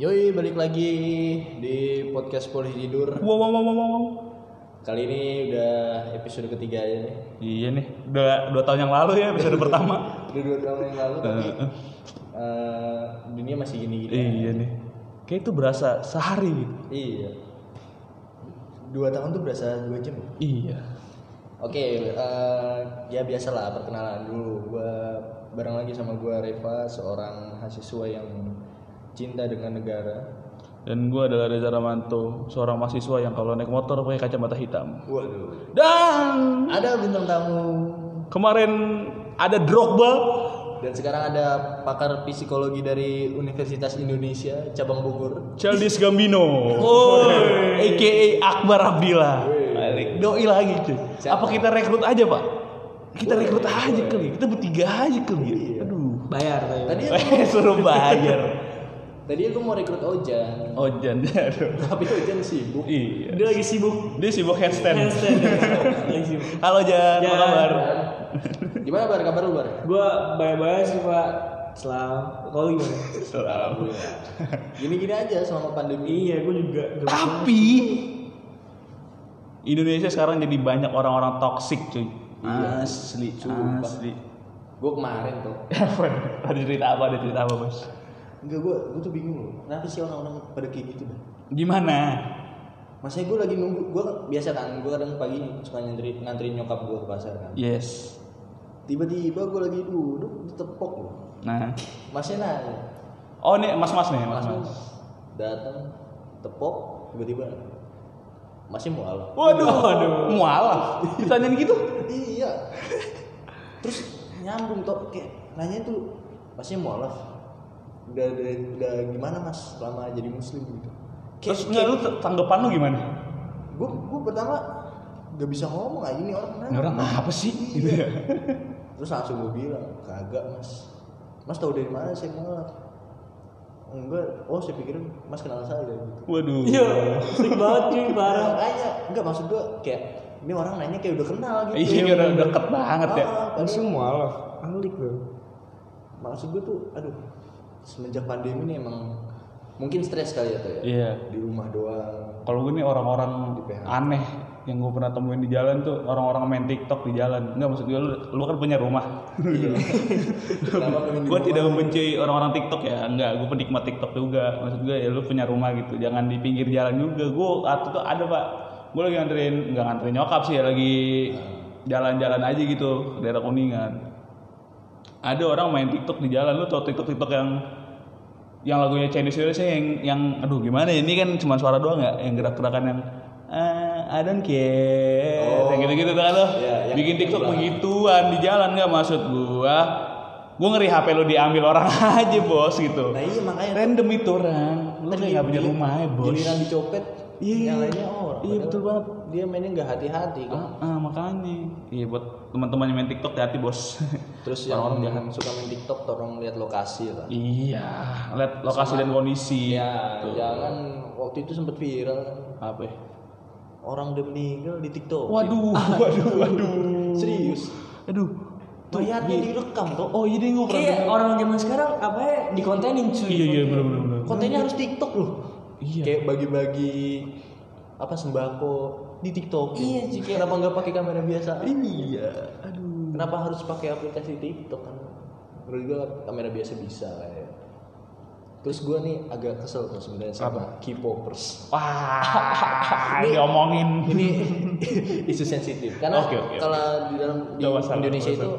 Yoi, balik lagi di podcast Polisi Tidur. Wow, wow, wow, wow, wow. Kali ini udah episode ketiga ya. nih. Iya nih, udah dua tahun yang lalu ya episode pertama. Udah dua tahun yang lalu tapi eh, dunia masih gini-gini. Iya nih, kayak itu berasa sehari gitu. Iya. Dua tahun tuh berasa dua jam. ya? Iya. Oke, eh, ya biasalah perkenalan dulu. Gua bareng lagi sama gua Reva, seorang mahasiswa yang cinta dengan negara. Dan gue adalah Reza Ramanto, seorang mahasiswa yang kalau naik motor pakai kacamata hitam. Waduh. Dan Ada bintang tamu kemarin ada Drogba. Dan sekarang ada pakar psikologi dari Universitas Indonesia cabang Bogor. Childish Gambino, Woi, aka Akbar Abdillah, Woi. doi lagi cuy. Siapa? Apa kita rekrut aja pak? Kita rekrut aja kali, kita bertiga aja kali. Iya. Aduh, bayar tapi Tadi Eh, suruh bayar. tadi aku mau rekrut Ojan, Ojan Oh, aduh. tapi Ojan sibuk. Iya. dia lagi sibuk Dia sibuk handstand. handstand lagi sibuk Halo Jan, apa Jan. kabar? Gimana bar kabar lu bar? gua bayar-bayar sih pak selam kalau gimana Gini-gini aja selama pandemi. iya gua juga Tapi Indonesia sekarang jadi banyak orang-orang toksik cuy. Iya. Asli, Sumpah. asli. Gue kemarin tuh, Apa? nih? Ada cerita apa? Ada cerita apa bos? enggak gue gue tuh bingung loh. Kenapa sih orang-orang pada kayak gitu bar? Gimana? Masanya gue lagi nunggu, gue biasa kan, gue kadang pagi suka ngantri, ngantri nyokap gue ke pasar kan. Yes. Tiba-tiba gue lagi duduk ditepok loh. Nah. Masnya nanya, Oh nih mas-mas nih Langsung mas-mas. datang tepok tiba-tiba masih mual Waduh, waduh. Mualaf. Ditanyain gitu? iya terus nyambung tuh kayak nanya tuh masih mualaf udah, udah udah gimana mas selama jadi muslim gitu Terus nggak lu tanggapan lu gimana? gue gue pertama gak bisa ngomong aja ini orang Ini kenapa Iya. orang apa sih? Gitu ya. terus langsung gue bilang kagak mas mas tahu dari mana saya mualaf enggak oh saya pikir mas kenal saya gitu Waduh. iya sering banget cuy Nah, parah makanya enggak maksud gua kayak ini orang nanya kayak udah kenal gitu. Iya, udah deket banget ya. Ah, padahal mualaf alik loh maksud gua tuh aduh semenjak pandemi nih emang mungkin stres kali ya tuh ya. Iya. Di rumah doang. Kalau gue nih orang-orang Di PH. aneh yang gue pernah temuin di jalan tuh orang-orang main TikTok di jalan. Enggak maksud gue lu, lu kan punya rumah. Iya. Kenapa pengen di gue rumah? tidak membenci orang-orang TikTok ya. Enggak, gue penikmat TikTok juga. Maksud gue ya lu punya rumah gitu. Jangan di pinggir jalan juga. Gue waktu itu ada pak. Gue lagi nganterin, enggak nganterin nyokap sih ya lagi jalan-jalan aja gitu ke daerah kuningan. Ada orang main TikTok di jalan lu tau TikTok TikTok yang yang lagunya Chinese Indonesia yang yang aduh gimana ya, ini kan cuma suara doang ya yang gerak-gerakan yang eh I don't care Oh. yang gitu-gitu tuh kan lo Iya, yang- bikin yang TikTok belakang. begituan di jalan nggak maksud gua gua ngeri HP lo diambil orang aja bos gitu Nah, iya makanya kan random itu orang lo kayak nggak punya rumah ya bos Giliran dicopet. Iya, yang iya. lainnya orang. Iya, betul Padahal Dia mainnya nggak hati-hati kan. ah, ah, makanya iya buat teman-teman yang main TikTok hati bos Terus yang orang jangan suka main TikTok tolong lihat lokasi lah. iya lihat lokasi dan kondisi Ya, Tuh. jangan waktu itu sempat viral kan. apa ya? orang udah meninggal di TikTok. waduh waduh waduh Serius. aduh Mayatnya direkam tuh. oh jadi gue pernah kayak dengar. orang zaman sekarang apa ya dikontenin cuy iya iya bener bener bener. Kontennya harus TikTok loh. Iya. Kayak bagi-bagi apa sembako di TikTok. Iya, cuy, kayak- Kenapa nggak pakai kamera biasa? iya aduh Kenapa harus pakai aplikasi TikTok kan? Menurut gua kamera biasa bisa lah ya. Terus gua nih agak kesel tuh sebenarnya sama K-popers. wah diomongin Ini isu sensitif karena Oke, oke, oke. kalau di dalam di Nggak masalah, Indonesia nggak itu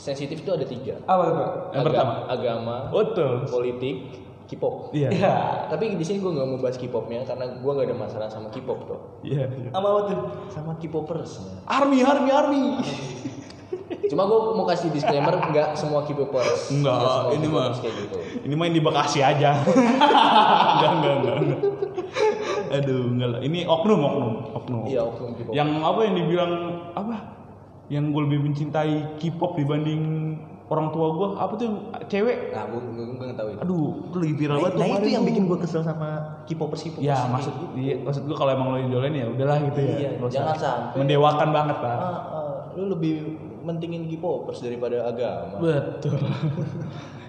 sensitif tuh ada tiga. apa tuh pak Yang Aga- pertama. Oh. agama, betul politik, K-pop. Iya. Iya. Tapi di sini gue nggak mau bahas K-popnya karena gue nggak ada masalah sama K-pop tuh. Iya. apa apa tuh Sama K-popers. Army, army, army. Cuma gue mau kasih disclaimer nggak semua K-popers. Enggak, nggak semua ini K-popers mah. kayak gitu. Ini main di Bekasi aja. enggak, enggak, enggak, enggak. Aduh, enggak lah. Ini oknum, oknum, oknum. Iya, oknum K-pop. Yang apa yang dibilang apa? Yang gue lebih mencintai K-pop dibanding orang tua gue. Apa tuh yang cewek? Nah, gue gue gue nggak tahu itu. Aduh, itu lagi Nah, viral banget. tuh kemarin tuh. gue kesel sama K-popers K-popers. Ya, kayak maksud gitu. iya, maksud gue kalau emang lo idolain ya udahlah gitu ya. Iya, Nggak usah. jangan sampai. mendewakan banget, Pak. Ah, ah, lu lebih mentingin K-popers daripada agama. Betul.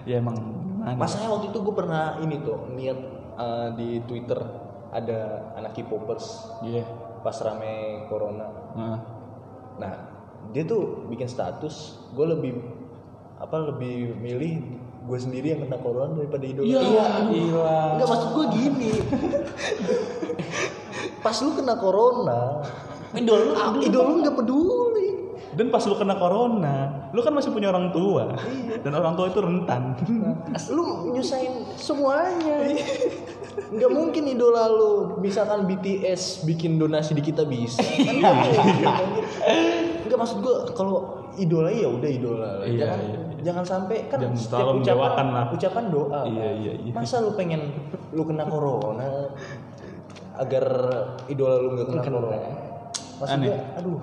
ya emang gimana? Masanya waktu itu gue pernah ini tuh niat eh, di Twitter ada anak K-popers Iya. pas rame corona. Nah, Nah, dia tuh bikin status, gue lebih apa lebih milih gue sendiri yang kena corona daripada idola. Iya, Iya. gila. Enggak maksud gue gini. Pas lu kena corona, idol lu, idol lu nggak peduli. Dan pas lu kena corona, lu kan masih punya orang tua. Dan orang tua itu rentan. Lu nyusahin semuanya. Nggak mungkin idola lu, misalkan BTS bikin donasi di kita bisa. Kan nggak mungkin, anjir. Nggak maksud gue kalau idola ya udah idola lah. Iya, jangan iya. jangan sampai kan Jangan setiap terlalu mendewakan ucapan lah. ucapan doa. Iya, kan. iya, iya. Masa lu pengen lu kena corona agar idola lu nggak kena corona? Maksud Aneh. gue, aduh,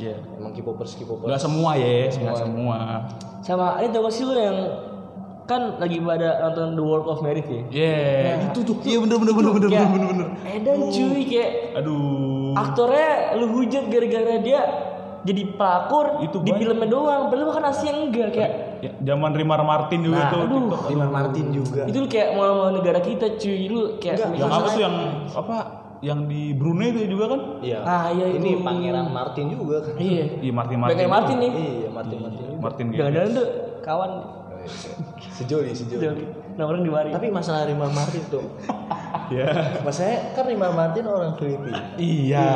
Iya. emang K-popers K-popers. Enggak semua ya, enggak semua. Sama ini tau gak sih lu yang kan lagi pada nonton The World of Merit ya? Iya. Nah, Itu tuh. Iya bener bener bener bener Kayak bener bener. Edan cuy kayak Aduh. aktornya lu hujat gara-gara dia jadi pelakor Itu di banyak. filmnya doang. Padahal kan aslinya enggak kayak Ya, zaman Rimar Martin Nah, juga tuh. aduh, Dilan Martin juga. itu lu kayak mau mau negara kita cuy lu kayak Iya. Enggak, Yang mikir- apa tuh yang apa? Yang di Brunei itu juga kan? Iya. Ah, iya Ini itu. Pangeran Martin juga kan. iya. Iya Martin Martin. Pengen Martin nih. Iya, Martin Martin. juga. Martin gitu. Jangan-jangan tuh kawan Iya. Sejoli, sejoli. nongkrong di mari. Tapi masalah Rima Martin tuh. Iya. Masalahnya kan Rima Martin orang Filipina. Iya.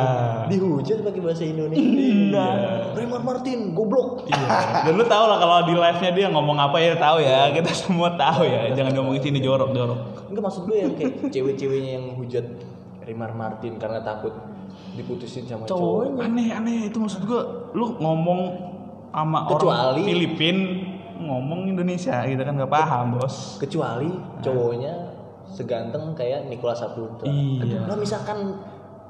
Dihujat pakai bahasa Indonesia. Nah, Rima Martin, goblok. Iya. Dan lu tau lah kalau di live-nya dia ngomong apa ya tahu ya. Kita semua tahu ya. Jangan ngomong sini jorok-jorok. Enggak maksud gue yang kayak cewek-ceweknya yang hujat Rima Martin karena takut diputusin sama cowok. Cowoknya. Aneh-aneh itu maksud gua lu ngomong sama orang Kecuali- Filipin ngomong Indonesia gitu kan nggak paham, Bos. Kecuali cowoknya seganteng kayak Nikola Saputra. Iya. Lah misalkan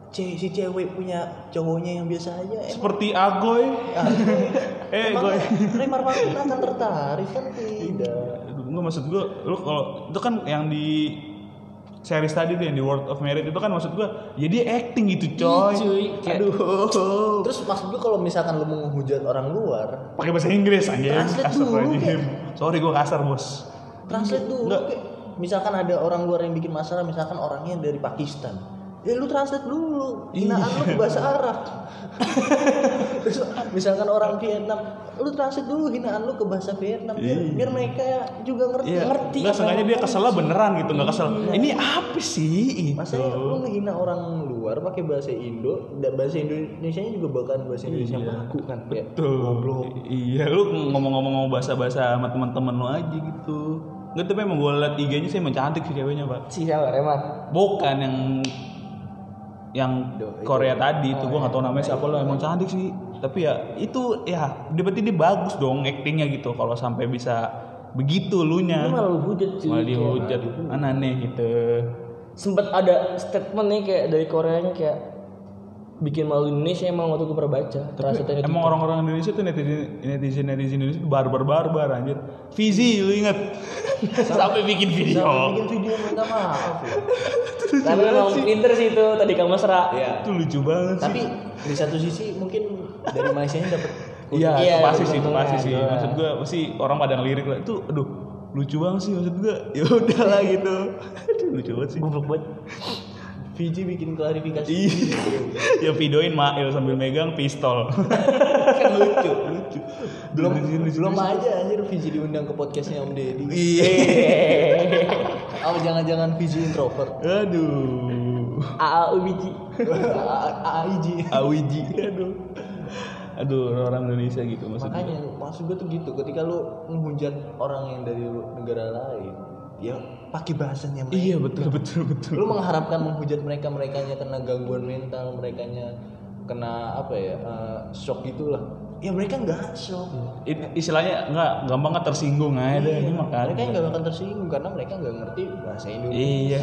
ce- si cewek punya cowoknya yang biasa aja eh, emang Seperti Agoy. eh, Goy. Remar Martin akan tertarik kan tidak. Enggak maksud gue, lu kalau itu kan yang di series tadi tuh yang di World of Merit itu kan maksud gue, ya dia acting gitu coy. Ih, cuy, kayak- Aduh. Terus maksud gue kalau misalkan lu mau menghujat orang luar, Pakai bahasa Inggris anjing. Translate dulu, Astagfirullahaladzim. Sorry gue kasar bos. translate dulu. Nggak. Kayak, misalkan ada orang luar yang bikin masalah, misalkan orangnya dari Pakistan. Ya lu translate dulu. Iya. Hinaan lu ke bahasa Arab. Terus misalkan orang Vietnam, lu translate dulu hinaan lu ke bahasa Vietnam biar, Iya. biar mereka juga ngerti. Iya. ngerti Enggak apa sengaja yang dia ngomong. kesel beneran gitu, nggak kesel. Iya. Ini apa sih? Itu? Masanya lu ngehina orang luar pakai bahasa Indo, dan bahasa Indonesia juga bahkan bahasa Indonesia Iya. baku kan kayak Tuh. Iya, lu ngomong-ngomong bahasa-bahasa sama teman-teman lu aja gitu. Enggak tapi emang gue liat IG-nya sih emang cantik sih ceweknya, Pak. Si siapa Remar? Bukan yang yang Do- itu. Korea tadi itu gua nggak tahu namanya siapa lo emang cantik sih tapi ya itu ya dia berarti dia bagus dong actingnya gitu kalau sampai bisa begitu lu Lu nya malah lu hujat Iya. cuy. malah dihujat aneh aneh gitu Sempet ada statement nih kayak dari Koreanya kayak bikin malu Indonesia emang waktu gue pernah baca. gitu. Translate-nya emang orang-orang Indonesia tuh netizen netizen netizen Indonesia tuh barbar barbar anjir Fizi lu inget sampai Jangan bikin video bikin video minta maaf ya. gitu. Tapi emang pinter sih itu tadi Kang Mesra. Iya. itu lucu banget sih Tapi di satu sisi mungkin dari Malaysia nya dapat Iya, Iya, itu pasti sih, itu keuntungan, pasti sih. iya. Maksud gue pasti orang pada ngelirik lah itu, aduh lucu banget sih maksud gue. Ya udah lah gitu. Aduh, lucu banget sih. Goblok banget. Fiji bikin klarifikasi. Iya. ya videoin Mail sambil megang pistol. kan lucu, lucu. Belum Lucu, lucu, belum lucu. aja anjir Fiji diundang ke podcastnya Om Deddy. Iya. Oh jangan-jangan Fiji introvert. Aduh. AA Ubiji. AIJ. Awiji. Aduh. Aduh, orang Indonesia gitu maksud gua. Makanya maksud gue tuh gitu ketika lu menghujat orang yang dari negara lain, ya pakai bahasanya mereka. Iya, betul betul betul. Lu mengharapkan menghujat mereka, mereka kena gangguan mental, mereka kena apa ya? eh, shock gitulah. Ya mereka nggak shock. It- istilahnya nggak gampang nggak tersinggung aja deh Iya, Iya. ini makanya. mereka nggak akan tersinggung karena mereka nggak ngerti bahasa Indonesia Iya.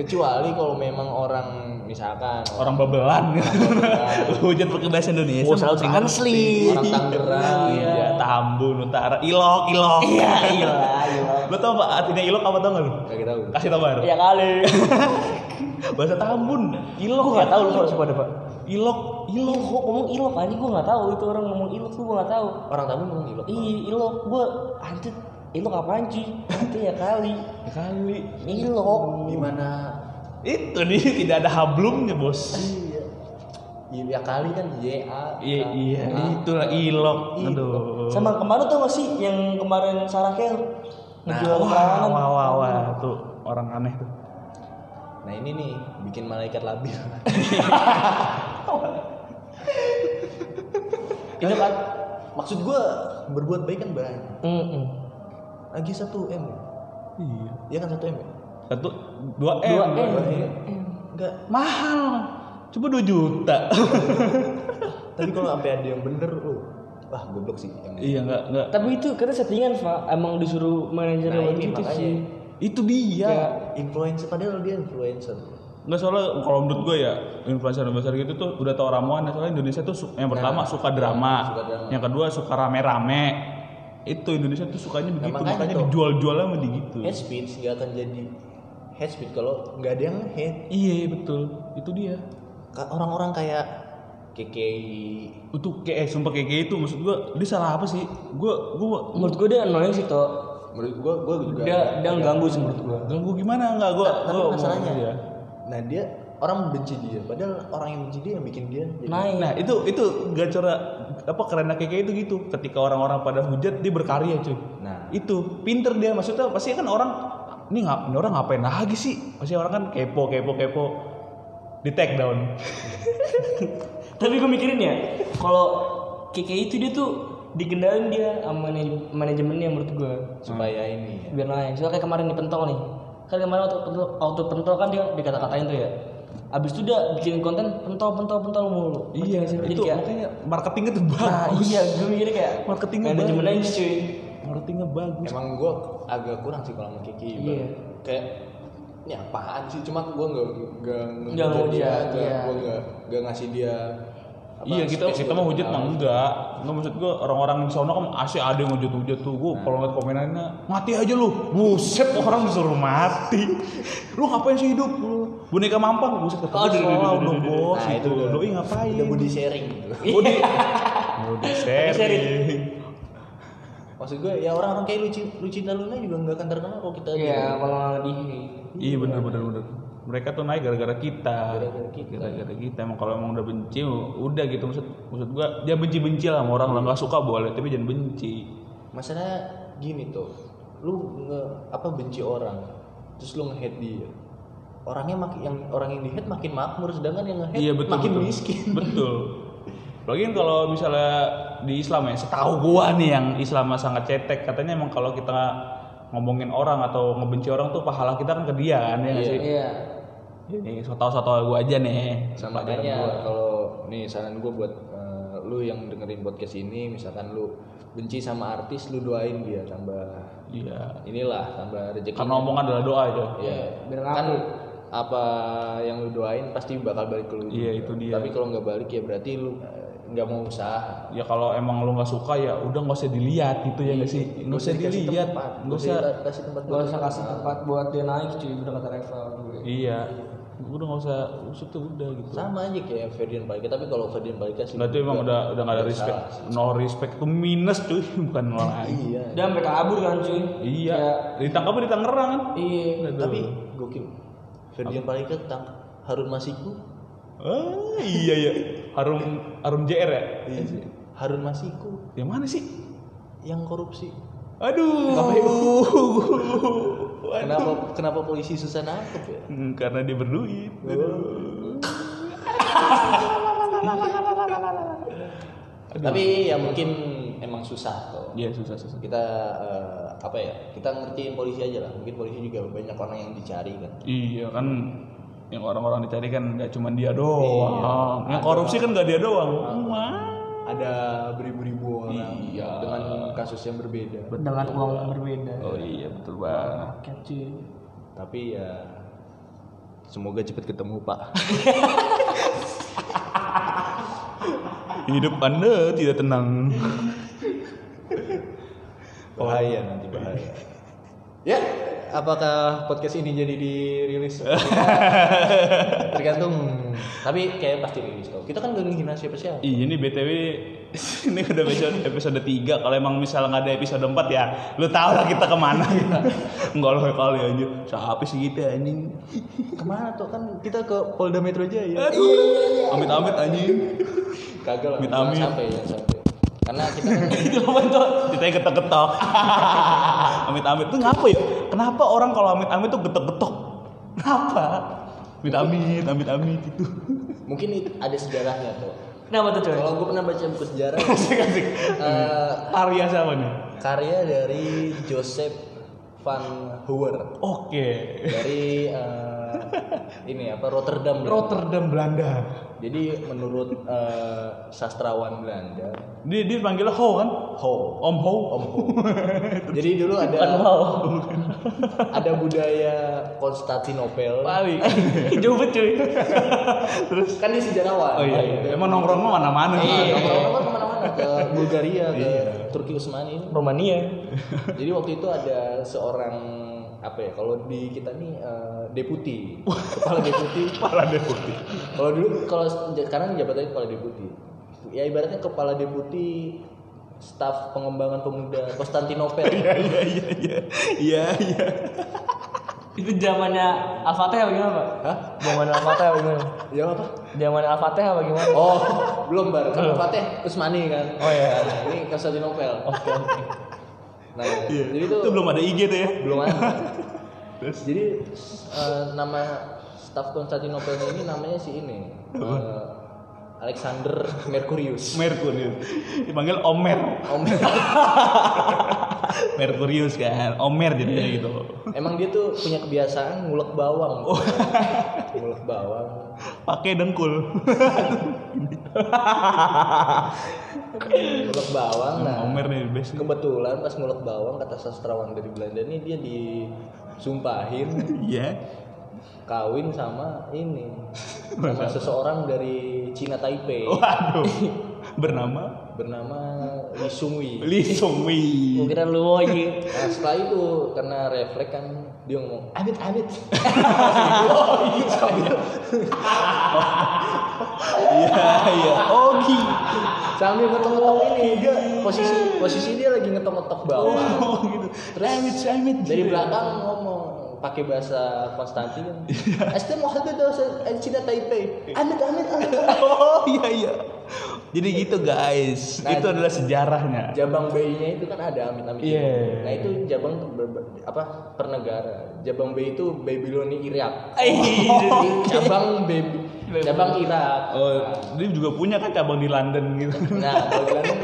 kecuali kalau memang orang misalkan orang, orang babelan Lu hujat pakai bahasa Indonesia Oh, mau selalu ngerti. translate. orang Tangerang iya Tambun Utara Ilok Ilok Iya, iya, iya. lo tau apa artinya Ilok apa tau gak lu nggak tahu kasih tau baru Ya kali. bahasa Tambun Ilok Gue ya. gak tau lu harus pada pak. Ilok Ilok, gue ngomong ilok aja gue gak tahu itu orang ngomong ilok tuh gue gak tahu. Iya. orang tamu ngomong ilok Ih, ilok gue anjir Itu kapan sih? Nanti ya kali. Ya kali. Ngilok. di mana Itu nih tidak ada hablumnya bos. iya ya, ya kali kan JA Iya kan. iya Nah, itulah ilok. Ilok. Aduh. Sama kemarin tuh nggak sih yang kemarin Sarah Kel ngejual wah, keterangan? Nah, wah, wah, wah, tuh orang aneh tuh. nah ini nih bikin malaikat labil itu kan maksud gue berbuat baik kan berani Mm-mm. lagi satu m Iya. ya kan satu m ya? Satu dua m. Iya. Dua M. enggak Mahal. Coba 2 juta. tapi kalau sampai ada yang bener lu wah goblok sih yang iya nggak nggak. Tapi itu karena settingan, Pak. Emang disuruh manajer Nah, lewat ini gitu makanya. sih. Itu dia. Kayak- influencer padahal dia influencer Nggak soalnya kalau menurut gue ya influencer influencer gitu tuh udah tau ramuan. Soalnya Indonesia tuh su- yang pertama suka, drama. Nah, suka drama. yang kedua suka rame-rame. Itu Indonesia tuh sukanya begitu, Nah, makanya makanya, tuh. dijual-jual sama di gitu. hate speech nggak akan jadi hate speech kalau nggak ada yang hate Iya betul, itu dia. Ka- orang-orang kayak KKI Itu kayak eh, sumpah kayak kayak itu maksud gue dia salah apa sih? Gue gue Menurut gue dia annoying sih, Toh. menurut gua gua juga Dia dia ganggu sih menurut gue. ganggu gimana nggak gue? tapi gue masalahnya nah dia orang benci dia padahal orang yang benci dia yang bikin dia jadi Naik. Nah itu itu gacora apa kerennya kayak itu gitu. Ketika orang-orang pada hujat dia berkarya cuy. Nah. itu pinter dia maksudnya pasti kan orang ini ngap ini orang ngapain lagi sih? Pasti orang kan kepo kepo kepo di take down. Tapi gue mikirin ya, kalau KK itu dia tuh digendalin dia sama manaj- manajemennya menurut gue supaya ini ya. biar naik. Soalnya kayak kemarin di pentol nih, kan kemarin waktu pentol, waktu pentol kan dia dikata-katain tuh ya. Abis itu dia bikin konten pentol pentol pentol mulu. Ngerti iya nggak sih? Jadi itu kayak, makanya marketingnya tuh nah bagus. iya gue mikirnya kayak Marketingnya manajemennya bagus. cuy. Iya, Marketingnya bagus. emang gua agak kurang sih kalau sama KKI Bang. Iya. kayak ini apaan sih cuma gua nggak nggak Nggak ngehujat dia ngehujat, nggak- iya. gua nggak nggak ngasih dia apa, Iya kita space kita buat mau hujat mah berkenalan. enggak. Enggak maksud gua orang-orang di sana kan asli ada yang hujat-hujat tuh. Gua kalau ngeliat komenannya mati aja lu. Buset orang disuruh mati. lu ngapain sih hidup lu? Boneka mampang buset kata Aduh, salah aduh, udah aduh, bos Nah, itu. itu udah. Doi gitu. ngapain? udah body sharing gitu. Body. Body sharing. maksud gua ya orang-orang kayak Luci Lucinta Luna juga nggak akan terkenal kalau kita Iya malah di Iya bener bener bener. Mereka tuh naik gara-gara kita. Gara-gara kita. Gara-gara kita. Emang kalau emang udah benci, udah gitu maksud maksud gua dia benci-benci lah sama orang lah nggak suka boleh tapi jangan benci. masalah gini tuh lu nge apa benci orang terus lu nge-hate dia orangnya makin yang orang yang di-hate makin makmur sedangkan yang nge-hate Iya betul. Eh, makin betul. miskin Betul. Lagi kalau misalnya di Islam ya, setahu gua nih yang Islam sangat cetek katanya emang kalau kita ngomongin orang atau ngebenci orang tuh pahala kita kan ke dia kan ya nggak sih? Iya. Ini so tau gua aja nih. sama makanya kalau nih saran gue buat eh, lu yang dengerin podcast ini misalkan lu benci sama artis lu doain dia tambah Iya. inilah tambah rezeki Karena omongan adalah doa aja. Iya. Biar kan apa yang lu doain pasti bakal balik ke lu Iya, juga. itu dia. tapi kalau nggak balik ya berarti lu eh, nggak mau usaha Ya kalau emang lu nggak suka ya udah nggak usah dilihat gitu ya Iya, nggak sih? Nggak usah dilihat. Nggak usah. kasih tempat Gak usah kasih tempat buat dia naik cuy udah kata Reva gue. Iya. Udah nggak usah usut tuh udah gitu. sama aja kayak Ferdian Palika tapi kalau Ferdian Palika sih Nah itu juga emang udah udah nggak ada ya? respect, salah. no respect tuh minus cuy, bukan nol lagi. iya Dia sampai kabur kan cuy. Iya. Kayak, Ditangkap di Tangerang kan? Iya. Aduh. tapi gokil Ferdian Palika tentang Harun Masiku ah, iya ya. Harum Harum JR ya? Iya. Harun Masiku Yang mana sih? yang korupsi Aduh. ya? kenapa kenapa polisi susah nangkep ya Hmm, Karena dia berduit. tapi ya mungkin emang susah tuh Iya susah susah. kita eh, apa ya kita ngertiin polisi aja lah mungkin polisi juga banyak orang yang dicari kan Iya kan yang orang-orang dicari kan gak cuma dia doang. Yang korupsi kan gak dia doang. Wah. ada beribu-ribu orang Iya. dengan kasus yang berbeda Dengan uang yang berbeda. Oh iya betul banget. Rakyat cuy. Tapi ya semoga cepat ketemu Pak. Hidup Anda tidak tenang. Bahaya nanti bahaya. ya, apakah podcast ini jadi dirilis? Tergantung Tapi kayak pasti rilis kok. Kita kan gak ngehina siapa-siapa. Ih, ini BTW ini udah episode, episode 3 kalau emang misalnya nggak ada episode 4 ya lu tau lah kita kemana nggak lo kali aja siapa sih kita anjing Kemana tuh kan kita ke Polda Metro Jaya. amit amit anjing Kagak lah. Amit jangan amit. Sampai ya sampai. Karena kita kan Itu apa tuh? kita ketok ketok amit amit tuh ngapa ya kenapa orang kalau amit amit tuh getok getok kenapa amit amit amit amit gitu mungkin itu ada sejarahnya tuh. Kenapa tuh coy? Kalau gue pernah baca buku sejarah asik asik Hmm. eh, karya siapa nih karya dari Joseph Van Hoover oke dari eh, ini apa Rotterdam. lah. Rotterdam Belanda Jadi menurut eh, sastrawan Belanda, dia dia panggilnya Ho kan Ho. Om Ho Om Ho. Jadi dulu ada ada budaya Konstantinopel. paling Jauh banget cuy. terus Kan dia sejarawan. Gitu. oh iya, iya. emang nongkrong Iya. mah mana mana Nah, nongkrong-nongkrong kemana-mana ke Bulgaria, ke Iya. Turki Utsmani. Romania. Jadi waktu itu ada seorang apa ya? Kalau di kita nih eh, deputi, kepala deputi. kepala deh putih Kalau dulu kalau sekarang jabatannya kepala deputi. Ya ibaratnya kepala deputi staf pengembangan pemuda Konstantinopel. iya iya iya iya iya iya Itu zamannya Al-Fatih apa gimana, Pak? Hah? Zaman Al-Fatih apa gimana? Ya apa? Zaman Al-Fatih apa gimana? Oh, belum baru. Kan Fatih Usmani kan. Oh iya. Ini Konstantinopel. Oke, oke. Nah, Iya. jadi itu belum ada IG tuh ya belum ada. terus jadi eh, nama staf Konstantinopelnya ini namanya si ini. eh, Alexander Mercurius. Merkurius dipanggil Omer Om, Merkurius kan Omer jadinya gitu emang dia tuh punya kebiasaan ngulek bawang. Ngulek bawang. pakai dengkul Ngulek bawang. Nah, Omer nih best nih. kebetulan pas ngulek bawang kata sastrawan dari Belanda ini dia disumpahin iya kawin sama ini sama seseorang dari Cina Taipei waduh bernama bernama Lee Sung Hui. Lee Song Gua Wei kira lu aja. Nah, setelah itu karena refleks kan dia ngomong amit amit. iya iya Ogi Sambil ngetok-ngetok ini dia posisi posisi dia lagi ngetok-ngetok bawah. oh gitu Amit Amit Dari belakang ngomong pakai bahasa Konstantin. Iya. Este mau hati dosa Cina Taipei. Amit amit amit. oh iya iya jadi gitu guys Nah, itu adalah sejarahnya Jabang bayinya itu kan ada amit amit. Iya. Nah itu jabang ber- ber- apa per negara. Jabang bayi itu Babyloni Irak. oh, cabang baby Iya, cabang Irak dia juga punya kan cabang di London gitu nah kalau di London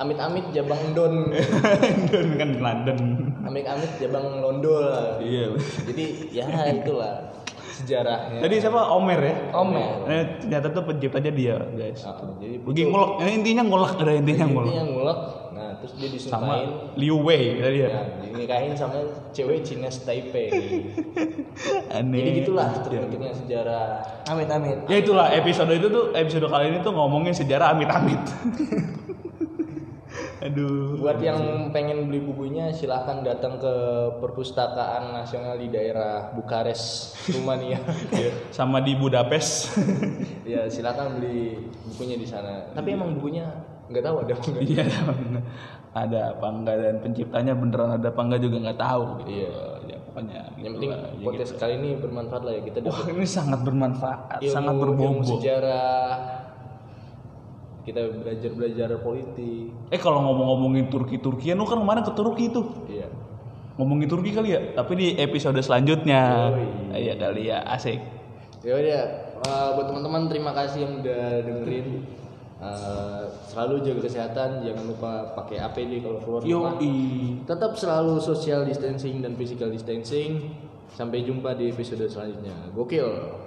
amit-amit cabang Don London kan di London amit-amit cabang Londol iya jadi ya itulah sejarahnya tadi siapa Omer ya Omer. Nah, ternyata tuh penciptanya dia guys Ah, jadi Pergi ngulek, Ini intinya ngulek, ada intinya ngulek dia ngulek nah terus dia Sama disumpahin Liu Wei tadi ya nah, dinikahin sama cewek Cina Taipei Aneh jadi gitulah Ya. bentuknya sejarah Amit amit. Ya itulah episode itu tuh episode kali ini tuh ngomongin sejarah amit-amit. Aduh. buat yang pengen beli bukunya silahkan datang ke perpustakaan nasional di daerah Bukares Rumania Ya, sama di Budapest. ya silakan beli bukunya di sana tapi emang bukunya nggak tahu ada apa nggak Iya. ada apa enggak dan penciptanya beneran ada apa enggak juga nggak tahu gitu. Iya. Ya, pokoknya yang gitu penting lah, ya podcast gitu. kali ini bermanfaat lah ya kita Wah, dapat ini sangat bermanfaat, ilmu- sangat ilmu berbobot. sejarah kita belajar belajar politik Eh kalau ngomong-ngomongin Turki-Turkian, lu kan kemarin ke Turki tuh. iya Ngomongin Turki kali ya, tapi di episode selanjutnya. Yoi. Iya kali ya, asik. ya udah eh, buat teman-teman terima kasih yang udah dengerin Eh, selalu jaga kesehatan jangan lupa pakai APD kalau keluar rumah tetap selalu social distancing dan physical distancing sampai jumpa di episode selanjutnya gokil